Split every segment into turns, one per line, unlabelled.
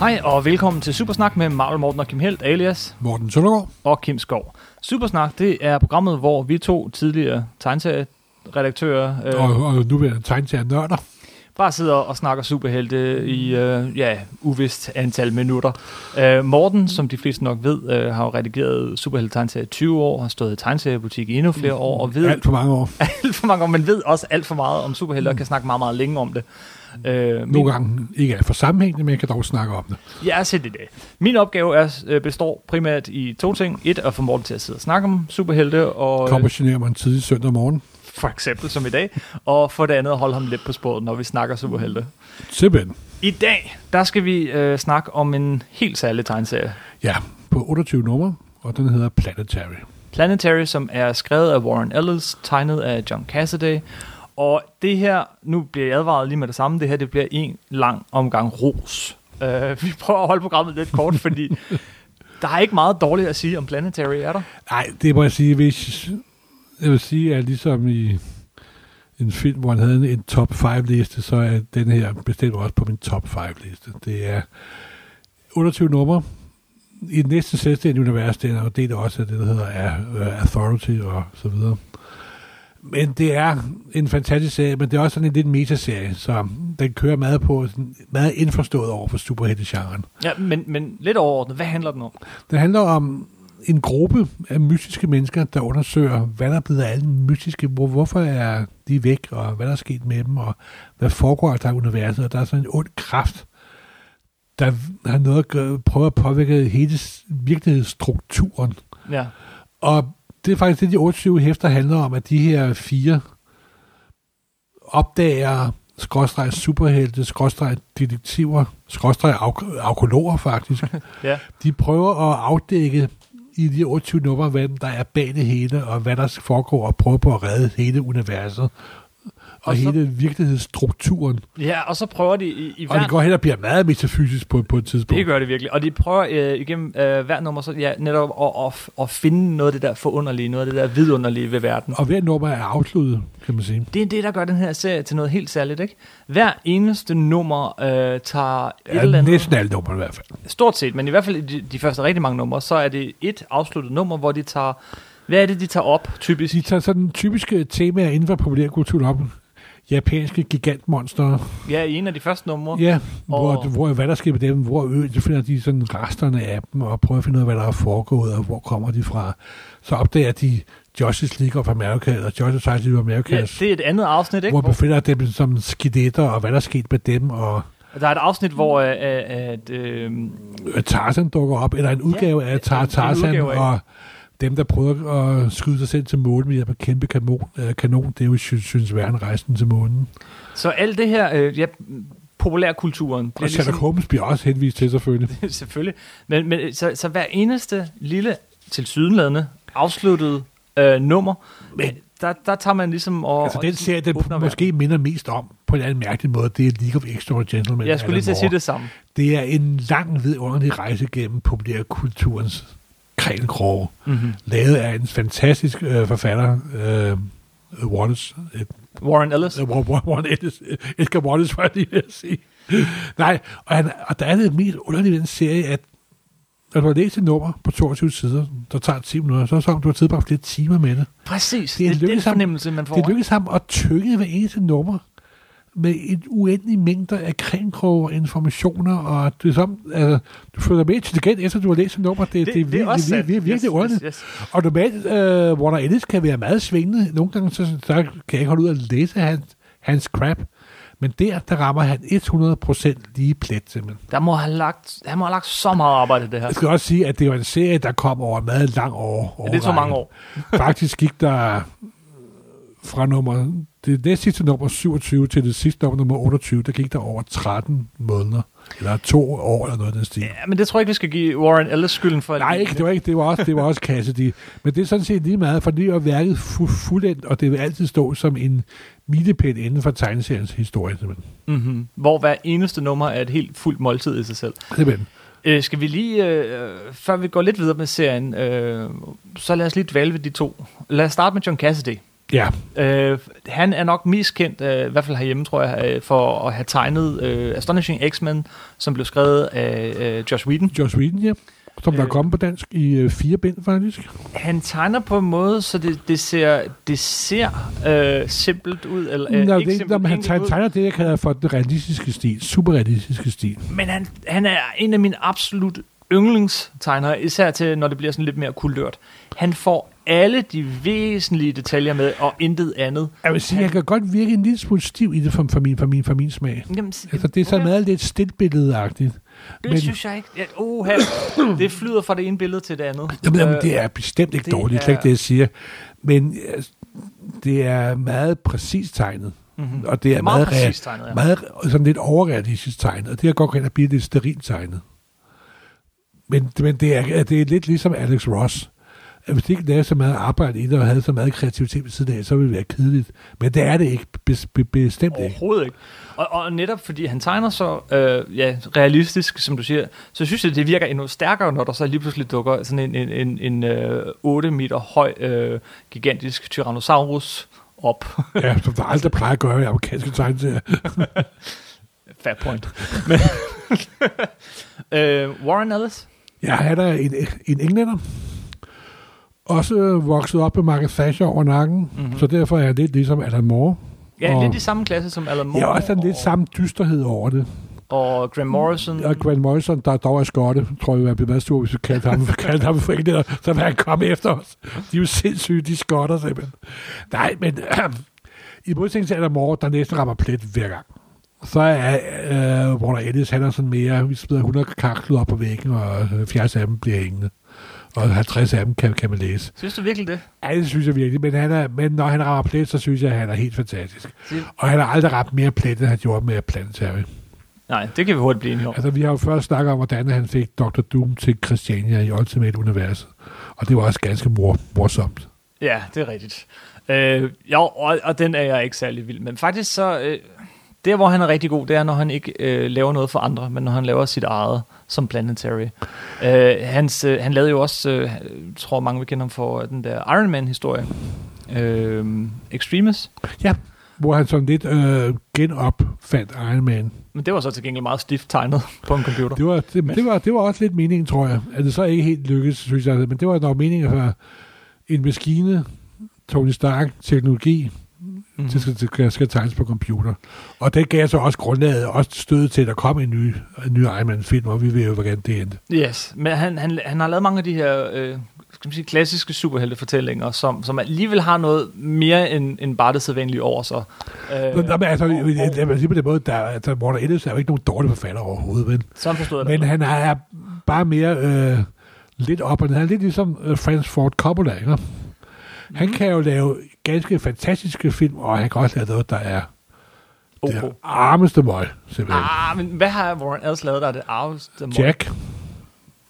Hej og velkommen til Supersnak med Marvel Morten og Kim Helt, alias
Morten Søndergaard.
og Kim Skov. Supersnak, det er programmet, hvor vi to tidligere tegneserieredaktører øh,
Og, og nu er jeg tegnet til nørder.
bare sidder og snakker superhelte i øh, ja, uvist antal minutter. Øh, Morten, som de fleste nok ved, øh, har jo redigeret superhelte i 20 år, har stået i tegneseriebutik i endnu flere år, og ved
Mm, Alt for mange år.
alt for mange år, men ved også alt for meget om superhelte, og kan snakke meget, meget længe om det. Øh, min-
Nogle gange ikke er for sammenhængende, men jeg kan dog snakke om det.
Ja, se det det. Min opgave er, øh, består primært i to ting. Et, at få Morten til at sidde og snakke om superhelte, og
Kom og generer mig en tidlig søndag morgen.
for eksempel som i dag. Og for det andet, at holde ham lidt på sporet, når vi snakker superhelte.
Simpelthen.
I dag, der skal vi øh, snakke om en helt særlig tegneserie.
Ja, på 28 numre, og den hedder Planetary.
Planetary, som er skrevet af Warren Ellis, tegnet af John Cassaday. Og det her, nu bliver jeg advaret lige med det samme, det her det bliver en lang omgang ros. Øh, vi prøver at holde programmet lidt kort, fordi der er ikke meget dårligt at sige om Planetary, er der?
Nej, det må jeg sige, hvis... Jeg vil sige, at ligesom i en film, hvor han havde en- en top 5 liste, så er den her bestemt også på min top 5 liste. Det er 28 numre. I den næsten selvstændige univers, det er en del også af det, der hedder øh, Authority og så videre. Men det er en fantastisk serie, men det er også sådan en lidt metaserie, så den kører meget på, sådan meget indforstået over for superhelte-genren.
Ja, men, men lidt overordnet, hvad handler den om?
Det handler om en gruppe af mystiske mennesker, der undersøger, hvad der er blevet af alle mystiske, hvor, hvorfor er de væk, og hvad der er sket med dem, og hvad foregår der i universet, og der er sådan en ond kraft, der har noget at gøre, prøver at påvirke hele s- virkelighedsstrukturen.
Ja.
Og det er faktisk det, de 28 hæfter handler om, at de her fire opdager skråstreg superhelte, skråstreg detektiver, skråstreg ark- arkologer faktisk,
ja.
de prøver at afdække i de 28 numre, hvad der er bag det hele, og hvad der foregår, og prøver på at redde hele universet, og,
Og
og
så-
hele virkelighedsstrukturen.
Ja, og så prøver de i, i
Og
hver...
det går hen og bliver meget metafysisk på, på et tidspunkt.
det gør det virkelig. Og de prøver øh, igennem øh, hver nummer så, ja, netop at, at, at finde noget af det der forunderlige, noget af det der vidunderlige ved verden.
Og hver nummer er afsluttet, kan man sige.
Det er det, der gør den her serie til noget helt særligt, ikke? Hver eneste nummer øh, tager et eller
Ja,
andet...
næsten alle nummer i hvert fald.
Stort set, men i hvert fald i de, de første rigtig mange numre, så er det et afsluttet nummer, hvor de tager... Hvad er det, de tager op, typisk?
De tager sådan typiske temaer inden for populærkulturen op. Japanske gigantmonstre.
Ja, i en af de første numre.
Ja, hvor,
Og-
hvor, hvad der sker med dem, hvor ø, så finder de sådan resterne af dem, og prøver at finde ud af, hvad der er foregået, og hvor kommer de fra. Så opdager de Justice League of America, eller Justice League of America,
Ja,
ja,
det er et andet afsnit, ikke?
hvor befinder dem som skidetter, og hvad der er sket med dem, og
Der er et afsnit, hvor øh, øh, at, øh,
øh, Tarzan dukker op, eller en udgave ja, af
en-
Tar
en
Tarzan,
udgave af-
og dem, der prøver at skyde sig selv til månen ved hjælp af kæmpe kanon, øh, kanon det er jo, synes, synes verden rejsen til månen.
Så alt det her, øh, ja, populærkulturen, ligesom-
Og Sherlock Holmes bliver også henvist til, selvfølgelig.
selvfølgelig, men, men øh, så, så hver eneste lille tilsyneladende afsluttede øh, nummer, men, der, der tager man ligesom og...
Altså, den
og-
serie, den
åbner
måske minder mest om, på en eller anden mærkelig måde, det er League of Extraordinary Gentlemen.
Jeg skulle lige til at sige det samme.
Det er en lang, vidunderlig rejse gennem populærkulturens krænkrog,
Mm-hmm.
lavet af en fantastisk øh, forfatter, øh, Wallace, et
Warren Ellis.
Øh, Warren- Warren Ellis. Edgar Wallace, var jeg lige ved at sige. Nej, og, han, og der er det mest underlige ved den serie, at når du har læst et nummer på 22 sider, der tager 10 minutter, så er det som om, du har tilbragt flere timer med det.
Præcis,
det
det
er
er, det er den
lykkedes ham-
fornemmelse, man får.
Det lykkedes ham at tynge hver eneste nummer med en uendelig mængde af kringkroge og informationer, og det er som, altså, du føler dig mere intelligent, efter du har læst et nummer. Det, det, det, det, det, det, det,
sandt.
det, det er virkelig
yes,
underligt.
yes, yes.
Og normalt, øh, Warner Ellis kan være meget svingende. Nogle gange, så, så kan jeg ikke holde ud at læse hans, hans crap. Men der, der rammer han 100% lige plet, simpelthen.
Der må have lagt, han må have lagt så meget arbejde i det her.
Jeg skal også sige, at det var en serie, der kom over en meget lang år.
Ja, det tog mange år.
Faktisk gik der fra nummer, det næst sidste nummer 27 til det sidste nummer, nummer 28, der gik der over 13 måneder. Eller to år, eller noget af den stil.
Ja, men det tror jeg ikke, vi skal give Warren Ellis skylden for.
Nej, ikke, det var ikke, det var også, det var også Cassidy. Men det er sådan set lige meget, for det er værket fu- fuldendt, og det vil altid stå som en milepæl inden for tegneseriens historie. Simpelthen.
Mm-hmm. Hvor hver eneste nummer er et helt fuldt måltid i sig selv.
simpelthen.
Øh, skal vi lige, øh, før vi går lidt videre med serien, øh, så lad os lige dvæle ved de to. Lad os starte med John Cassidy.
Ja,
Øh, han er nok mest kendt, øh, i hvert fald herhjemme, tror jeg, øh, for at have tegnet øh, Astonishing X-Men, som blev skrevet af øh, Josh Whedon.
Josh Whedon, ja. Som øh. der er
Øh.
kommet på dansk i øh, fire bind, faktisk.
Han tegner på en måde, så det, det ser, det ser øh, simpelt ud. Eller, øh,
Øh, Nå, det
ikke
er ikke, om han
enkelt
tegner,
ud.
tegner det, jeg kalder for den realistiske stil. Superrealistiske stil.
Men han, han er en af mine absolut yndlingstegnere, især til, når det bliver sådan lidt mere kulørt. Han får alle de væsentlige detaljer med, og intet andet.
Jeg vil sige, jeg kan godt virke en lille smule stiv i det for, for, min, for, min, for min smag.
Jamen,
Altså, det er så meget lidt stiltbilledeagtigt.
Det
men-
synes jeg ikke. Ja, oh, det flyder fra det ene billede til det andet.
Jamen, jamen,
Øh,
det er bestemt ikke
det
dårligt, det er
er-
ikke det, jeg siger. Men øh, det er meget præcist tegnet.
Mhm.
Og det er
Meget
meget,
præcist
meget,
tegnet, ja.
rea- meget sådan lidt overrealistisk tegnet. Og det har godt kan lide at blive lidt sterilt tegnet. Men, men det, er, det er lidt ligesom Alex Ross. At Hvis de ikke lavede så meget arbejde i det, og havde så meget kreativitet ved siden af, så ville det være kedeligt. Men det er det ikke. Bes, be, bestemt ikke.
Overhovedet ikke. Og, og netop fordi han tegner så øh, ja, realistisk, som du siger, så synes jeg, det virker endnu stærkere, når der så lige pludselig dukker sådan en, en, en, en øh, 8 meter høj, øh, gigantisk Tyrannosaurus op.
Ja, som der aldrig plejer at gøre i amerikanske tegneserier.
Fair point. Men, øh, Warren Ellis?
Ja, han er en, en englænder. Også vokset op med Margaret Thatcher over nakken, mm-hmm. så derfor er det ligesom Alan Moore.
Ja,
Og-
og, lidt i samme klasse som Alan Moore.
Ja, også sådan lidt
og,
samme dysterhed over det.
Og Graham Morrison.
Og Grant Morrison, der dog er skotte, tror jeg, jeg bliver meget stor, hvis vi kaldte ham, kaldte ham for englænder, så vil han komme efter os. De er jo sindssyge, de skotter simpelthen. Nej, men i modsætning til Alan Moore, der næsten rammer plet hver gang. Så er øh, Warner Ellis, han er sådan mere, vi smider 100 kakler op på væggen, og 70 af dem bliver hængende. Og 50 af dem kan, kan man læse.
Synes du virkelig det?
Ja, det synes jeg virkelig. Men, han er, men når han rammer plet, så synes jeg, at han er helt fantastisk.
det?
Og han har aldrig ramt mere plet, end han gjorde med Planetary.
Nej, det kan vi hurtigt blive enige om.
Altså, vi har jo først snakket om, hvordan han fik Dr. Doom til Christiania i Ultimate Universet. Og det var også ganske mor- morsomt.
Ja, det er rigtigt. Øh, jo, og, og den er jeg ikke særlig vild med. Men faktisk så, øh, der hvor han er rigtig god, det er, når han ikke øh, laver noget for andre, men når han laver sit eget, som Planetary. Øh, hans, øh, han lavede jo også, øh, jeg tror mange vil kende ham for øh, den der Iron Man-historie. Øh, Extremis.
Ja, hvor han sådan lidt øh, genopfandt Iron Man.
Men det var så til gengæld meget stift tegnet på en computer.
Det var, det, det, var, det var også lidt meningen, tror jeg. At det så ikke helt lykkedes, synes jeg. Men det var nok meningen for en maskine, Tony Stark, teknologi,
Mhm.
det skal, det skal, skal tegnes på computer. Og det gav så også grundlaget, også stød til, at der kom en ny, en ny Iron Man-film, og vi ved jo, hvordan det endte.
Yes, men han, han, han har lavet mange af de her øh, skal man sige, klassiske superheltefortællinger, som, som alligevel har noget mere end, end bare det sædvanlige over sig. Øh,
Øh, Nå, men altså,
og-
øh,
og-
lad mig sige på den måde, der, altså, Warner Ellis er jo ikke nogen dårlig forfatter overhovedet, men,
Sådan forstod jeg det.
men han er bare mere øh, lidt op og ned. Han er lidt ligesom øh, Francis Ford Coppola, ikke? Han
Mhm.
kan jo lave ganske fantastiske film, og han kan også lave noget, der er det
OK.
armeste møg, simpelthen.
Ah, men hvad har Warren Ellis lavet, der er det arveste mål?
Jack?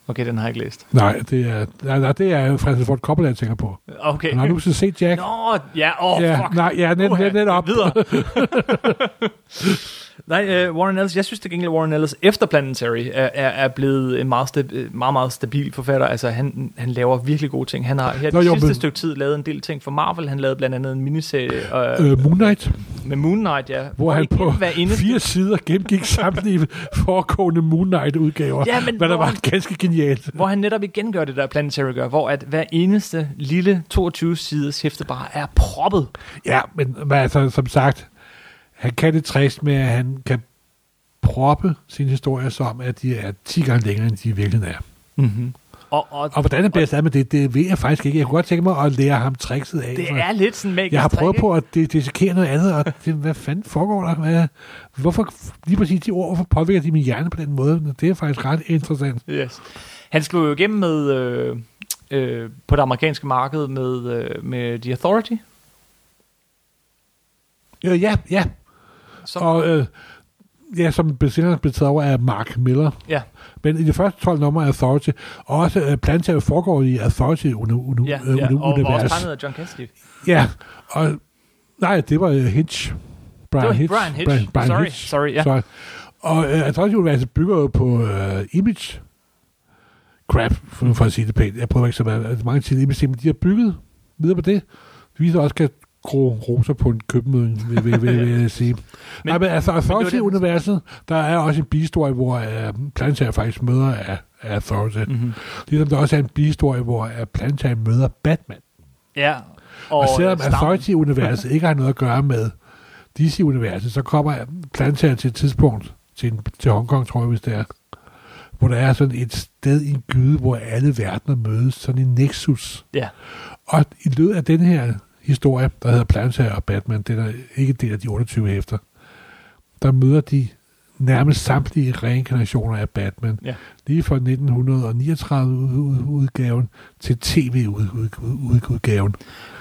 Okay, den har jeg ikke læst.
Nej, det er, nej, nej, det er jo Francis Ford Coppola, jeg tænker på.
Okay.
Men har du så set Jack?
Nå, ja, åh, oh,
ja,
fuck.
nej, ja, net,
Uha,
net, net op.
Videre. Nej, uh, Warren Ellis, jeg synes det gengæld, Warren Ellis efter Planetary er, er, er blevet en meget, stab, øh, meget, meget stabil forfatter. Altså, han, han laver virkelig gode ting. Han har her
Nå,
det
jo,
sidste
men-
stykke tid lavet en del ting for Marvel. Han lavede blandt andet en miniserie øh,
Øh, Moon Knight,
med Moon Knight, ja.
hvor han
igen
på
hver eneste-
fire sider gennemgik samtlige foregående Moon Knight-udgaver,
Ja, men
hvad der
hvor-
var ganske genialt.
Hvor han netop igen gør det, der Planetary gør, hvor at hver eneste lille 22-sides hæfte bare er proppet.
Ja, men, men altså, som sagt, han kan det træst med, at han kan proppe sine historier som, at de er 10 gange længere, end de i virkeligheden er.
Mm-hmm. Og, og,
Mhm. Og hvordan han bliver stadig med det, det ved jeg faktisk ikke. Jeg kunne godt tænke mig at lære ham trickset af.
det
for
er lidt sådan magisk
jeg har prøvet
trick,
på at de- dissekere noget andet, og det, hvad fanden foregår der? Hvad, hvorfor lige præcis de ord, hvorfor påvirker de min hjerne på den måde? Det er faktisk ret interessant.
ikke? Yes. Han slog jo igennem med, øh, øh, på det amerikanske marked med, øh, med The Authority.
Øh, ja, ja,
Som,
Og øh, ja, som senere blev taget over af Mark Miller.
ja,
Men i de første 12 numre af Authority, og også øh, Planetary foregår i Authority unu, unu,
ja,
øh,
ja,
unu,
og var også
univers.
tegnet af John Cassidy.
Ja, og nej, det var øh, Hitch. Brian
Det var
Hitch.
Brian Hitch. Sorry, sorry, ja.
Sorry. Og øh, Authority universet bygger jo på øh, image crap, for, for at sige det pænt. Jeg prøver ikke så meget, altså, mange til image, men de har bygget videre på det. Det viser også, at grå roser på en købmøde, vil, vil, vil, vil jeg sige. men, Nej, men altså, Authority
det-
men universet, der er også en bihistorie, hvor uh, Planetary faktisk møder af, af Authority. Mm.
Mm-hmm.
Ligesom der også er en bihistorie, hvor uh, Planetary møder Batman.
Ja.
Og, og selvom
stammen.
Authority-universet ikke har noget at gøre med DC-universet, så kommer Planetary til et tidspunkt, til, en, til Hongkong, tror jeg, hvis det er, hvor der er sådan et sted i en gyde, hvor alle verdener mødes, sådan en nexus.
Ja.
Og i løbet af den her historie, der hedder Planetary og Batman, den er ikke en del af de 28 hæfter, der møder de nærmest samtlige reinkarnationer af Batman.
Ja.
Lige fra 1939-udgaven til tv-udgaven.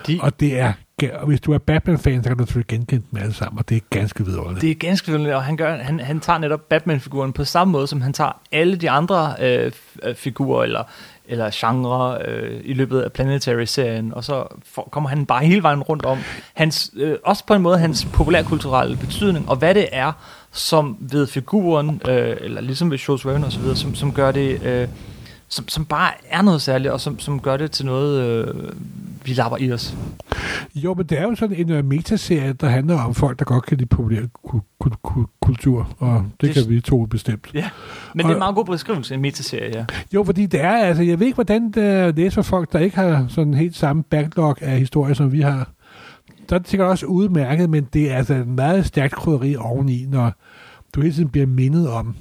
De,
Og det er, ga- og hvis du er Batman-fan, så kan du selvfølgelig genkende dem alle sammen, og det er ganske vidunderligt.
det er ganske vildt, og han, gør, han, han tager netop Batman-figuren på samme måde, som han tager alle de andre øh, f- øh, figurer eller, eller genre øh, i løbet af Planetary-serien, og så for, kommer han bare hele vejen rundt om. Hans, øh, også på en måde hans populærkulturelle betydning, og hvad det er, som ved figuren, øh, eller ligesom ved Jules Verne osv., som, som gør det... Øh, som, som bare er noget særligt, og som, som gør det til noget, øh, vi lapper i os.
Jo, men det er jo sådan en øh, metaserie, der handler om folk, der godt kan lide populær ku- ku- ku- kultur, og det,
Det-
det kan vi to bestemt.
Ja, men det er
Og-
en meget god beskrivelse, en metaserie, ja.
Jo, fordi det er, altså, jeg ved ikke, hvordan det læser folk, der ikke har sådan helt samme backlog af historier, som vi har. Der er det sikkert også udmærket, men det er altså en meget stærkt krydderi oveni, når du hele tiden bliver mindet om,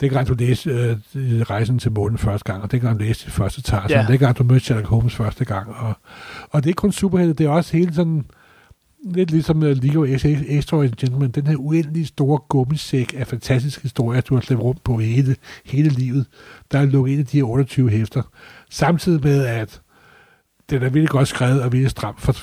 dengang du læste øh, Rejsen til månen første gang, og dengang du læste dit første Tarzan,
Ja.
yeah. dengang du mødte Sherlock Holmes første gang. Og, og det er ikke kun superhelte, det er også hele sådan, lidt ligesom øh, League of Ex- Extraordinary Gentlemen, den her uendelig store gummisæk af fantastiske historier, du har slæbt rundt på i hele, hele livet, der er lukket ind i de her 28 hæfter. Samtidig med, at den er virkelig godt skrevet og virkelig stramt for,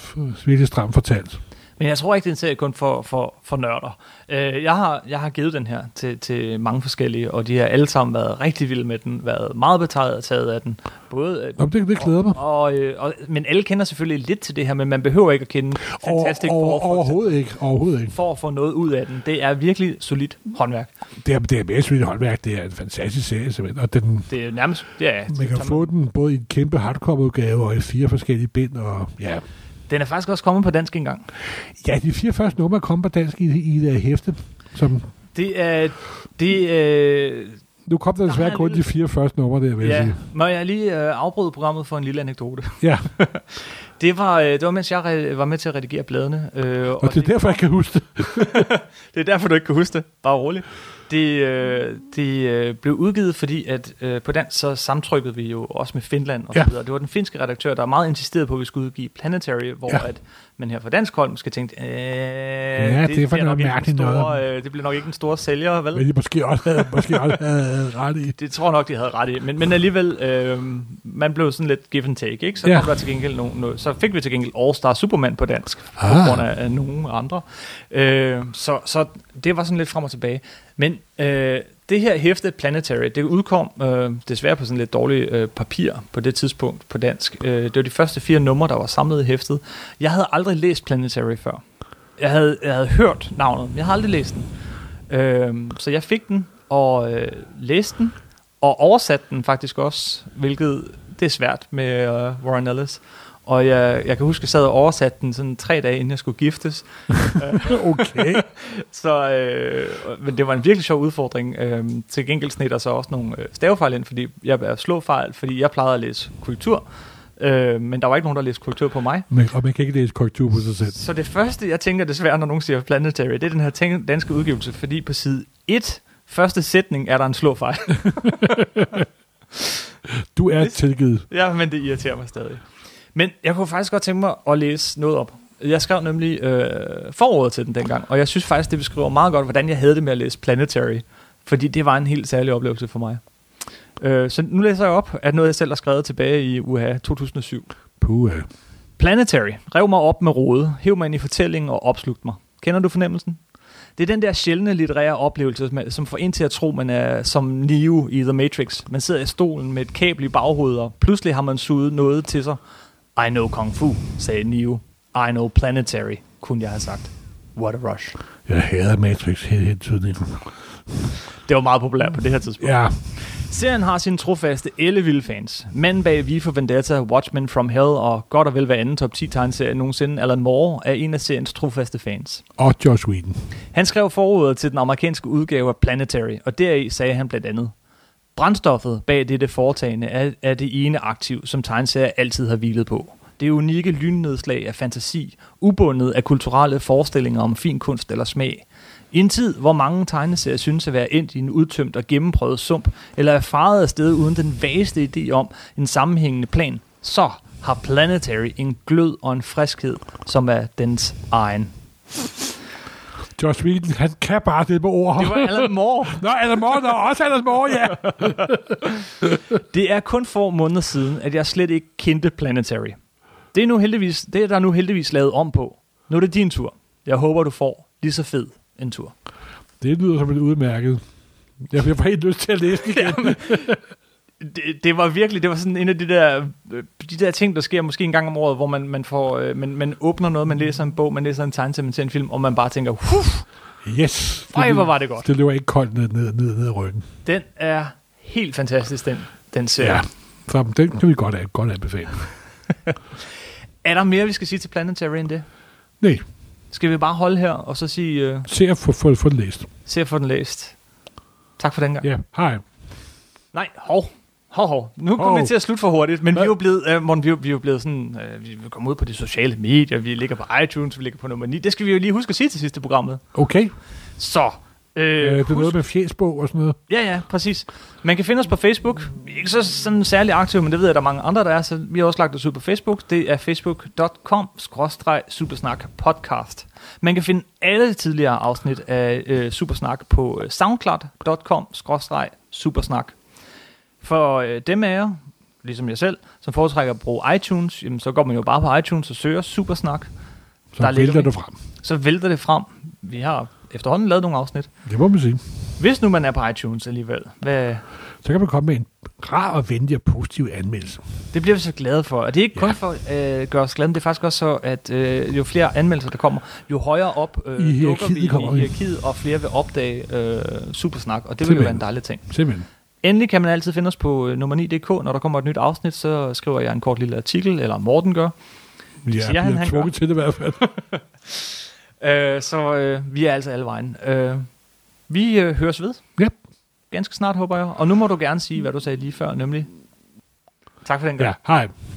virkelig stramt fortalt.
Men jeg tror ikke, det er en serie kun for, for, for nørder. Øh, jeg, har, jeg har givet den her til, til mange forskellige, og de har alle sammen været rigtig vilde med den, været meget betaget og taget af den. Både, øh,
Nå, men det, det glæder mig.
og, øh, og, men alle kender selvfølgelig lidt til det her, men man behøver ikke at kende Fantastic
over, over,
Four for,
overhovedet ikke. Overhovedet ikke.
for at få noget ud af den. Det er virkelig solidt håndværk.
Det er, det er mest vildt håndværk. Det er en fantastisk serie, simpelthen. Og den,
Det er nærmest... Ja,
man kan få den både i en kæmpe hardcore-udgave og i fire forskellige bind. Og, ja.
Den er faktisk også kommet på dansk engang.
ja, de fire første numre kom på dansk i, i det her hæfte, som
Det er... Det, øh,
Nu kom der desværre
er
kun
lidt-
de fire første numre, der vil jeg
ja,
sige.
må jeg lige øh, afbryde programmet for en lille anekdote?
Ja,
Det var, øh, det var mens jeg re- var med til at redigere bladene. Øh,
og det er derfor, jeg kan huske det.
det er derfor, du ikke kan huske det. Bare roligt. Det, øh, det øh, blev udgivet, fordi at øh, på dansk så samtrykkede vi jo også med Finland og
Ja.
så videre. Det var den finske redaktør, der meget insisterede på, at vi skulle udgive Planetary, hvor
Ja.
ja. at man her fra dansk hold måske tænkte, øh,
det er for
bliver
noget
nok ikke den
mærkeligt
store,
noget.
Øh, det bliver nok ikke den store sælger, vel?
Men de måske også havde, måske også havde ret i.
Det tror jeg nok, de havde ret i. Men, men alligevel, øh, man blev sådan lidt give and take, ikke? Så,
Ja.
ja. kom der til gengæld no, no, så fik vi til gengæld All Star Superman på dansk, ah.
Ah.
på grund af, af nogen andre. Øh, så, så det var sådan lidt frem og tilbage. Men øh, det her hæfte Planetary, det udkom øh, desværre på sådan lidt dårlig øh, papir på det tidspunkt på dansk. Øh, det var de første fire numre, der var samlet i hæftet. Jeg havde aldrig læst Planetary før. Jeg havde, jeg havde hørt navnet, men jeg havde aldrig læst den. Øhm, så jeg fik den og øh, læste den og oversatte den faktisk også, hvilket det er svært med øh, Warren Ellis. Og jeg, jeg kan huske, jeg sad og oversatte den sådan tre dage, inden jeg skulle giftes.
Okay.
Så, øh, men det var en virkelig sjov udfordring. Øhm, til gengæld sned der så også nogle øh, stavefejl ind, fordi jeg er slåfejl, fordi jeg plejede at læse kultur. Øh, men der var ikke nogen, der læste kultur på mig.
Men, og man kan ikke læse korrektur på sig selv.
Så det første, jeg tænker desværre, når nogen siger Planetary, det er den her tænk- danske udgivelse, fordi på side 1, første sætning, er der en slåfejl.
Du er tilgivet.
ja, men det irriterer mig stadig. Men jeg kunne faktisk godt tænke mig at læse noget op. Jeg skrev nemlig øh, forordet til den dengang, og jeg synes faktisk, det beskriver meget godt, hvordan jeg havde det med at læse Planetary, fordi det var en helt særlig oplevelse for mig. Øh, så nu læser jeg op af noget, jeg selv har skrevet tilbage i UHA 2007.
Puh, ja.
Planetary. Rev mig op med rode. Hæv mig ind i fortællingen og opslugt mig. Kender du fornemmelsen? Det er den der sjældne litterære oplevelse, som- som får en til at tro, man er som Neo i The Matrix. Man sidder i stolen med et kabel i baghovedet, og pludselig har man suget noget til sig. I know Kung Fu, sagde Neo. I know Planetary, kunne jeg have sagt. What a rush.
jeg hader Matrix helt hele tiden.
Det var meget populært på det her tidspunkt.
Ja,
Serien har sine trofaste ellevilde fans. Manden bag V for Vendetta, Watchmen from Hell og godt og vel hver anden top 10 tegneserie nogensinde, Alan Moore, er en af seriens trofaste fans.
Og Josh Whedon.
Han skrev forordet til den amerikanske udgave af Planetary, og deri sagde han blandt andet, Brændstoffet bag dette foretagende er, er det ene aktiv, som tegneserier altid har hvilet på. Det unikke lynnedslag af fantasi, ubundet af kulturelle forestillinger om fin kunst eller smag. I en tid, hvor mange tegneserier synes at være endt i en udtømt og gennemprøvet sump, eller er faret af sted uden den vageste idé om en sammenhængende plan, så har Planetary en glød og en friskhed, som er dens egen.
Josh Whedon, han kan bare det med ord.
Det var Alan Moore.
Nå, Alan Moore, der også Alan Moore, ja.
Det er kun få måneder siden, at jeg slet ikke kendte Planetary. Det er, nu heldigvis, det er der nu heldigvis lavet om på. Nu er det din tur. Jeg håber, du får lige så fed en tur.
Det lyder som et udmærket. Jeg jeg får helt lyst til at læse det igen.
Det, det var virkelig, det var sådan en af de der, øh, de der ting, der sker måske en gang om året, hvor man, man, får, øh, man, man åbner noget, man læser en bog, man læser en tegneserie, man ser en film, og man bare tænker, Huf,
Yes.
Ej,
løber-
hvor var det godt.
Det løber ikke koldt ned, ned, ned, ned ad ryggen.
den er helt fantastisk, den, den serie. Ja.
Så den kan vi godt, af, godt anbefale.
Er der mere, vi skal sige til Planetary end det?
Nej,
Skal vi bare holde her, og så sige, øh,
se at få, få, få den læst.
se at få den læst. Tak for den gang.
Ja, hej.
Nej, hov. Hov, hov. Nu kom
Hov.
vi til at slutte for hurtigt, men vi er jo
Hvad?
blevet, øh, Morten, vi, er jo- vi er jo blevet sådan, øh, vi vi kommer ud på de sociale medier, vi ligger på iTunes, vi ligger på nummer 9. Det skal vi jo lige huske at sige til sidste programmet.
Okay.
Så,
Øh,
øh,
det er
husk,
noget med fjesbog og sådan noget.
ja, ja, præcis. Man kan finde os på Facebook. Vi er ikke så sådan særlig aktive, men det ved jeg, der er mange andre, der er, så vi har også lagt os ud på Facebook. Det er facebook.com-supersnakpodcast. Man kan finde alle tidligere afsnit af øh, Supersnak på øh, soundcloud.com-supersnak. For øh, dem af jer, ligesom jeg selv, som foretrækker at bruge iTunes, jamen, så går man jo bare på iTunes og søger Supersnak.
Så
Der
der
ligger
vælter
vi.
du frem.
Så vælter det frem. Vi har efterhånden lavet nogle afsnit.
Det må man sige.
Hvis nu man er på iTunes alligevel, hvad,
Så kan man komme med en rar og venlig og positiv anmeldelse.
det bliver vi så glade for. Og det er ikke kun
Ja.
for at øh, gøre os glade, men det er faktisk også så, at øh, jo flere anmeldelser der kommer, jo højere op øh,
I
dukker
hierarkiet
vi i
kommer vi.
hierarkiet, og flere vil opdage øh, Supersnak, og det vil jo
Simpelthen.
være en dejlig ting.
Simpelthen.
Endelig kan man altid finde os på øh, nummer 9.dk. Når der kommer et nyt afsnit, så skriver jeg en kort lille artikel, eller Morten gør.
Ja,
Siger
jeg
han,
bliver
han
tvunget til det i hvert fald.
Øh, så øh, vi er altså alle vejen. Øh, vi øh, høres ved.
Ja.
Ganske snart, håber jeg. Og nu må du gerne sige, hvad du sagde lige før, nemlig... Tak for den gang.
ja, hej.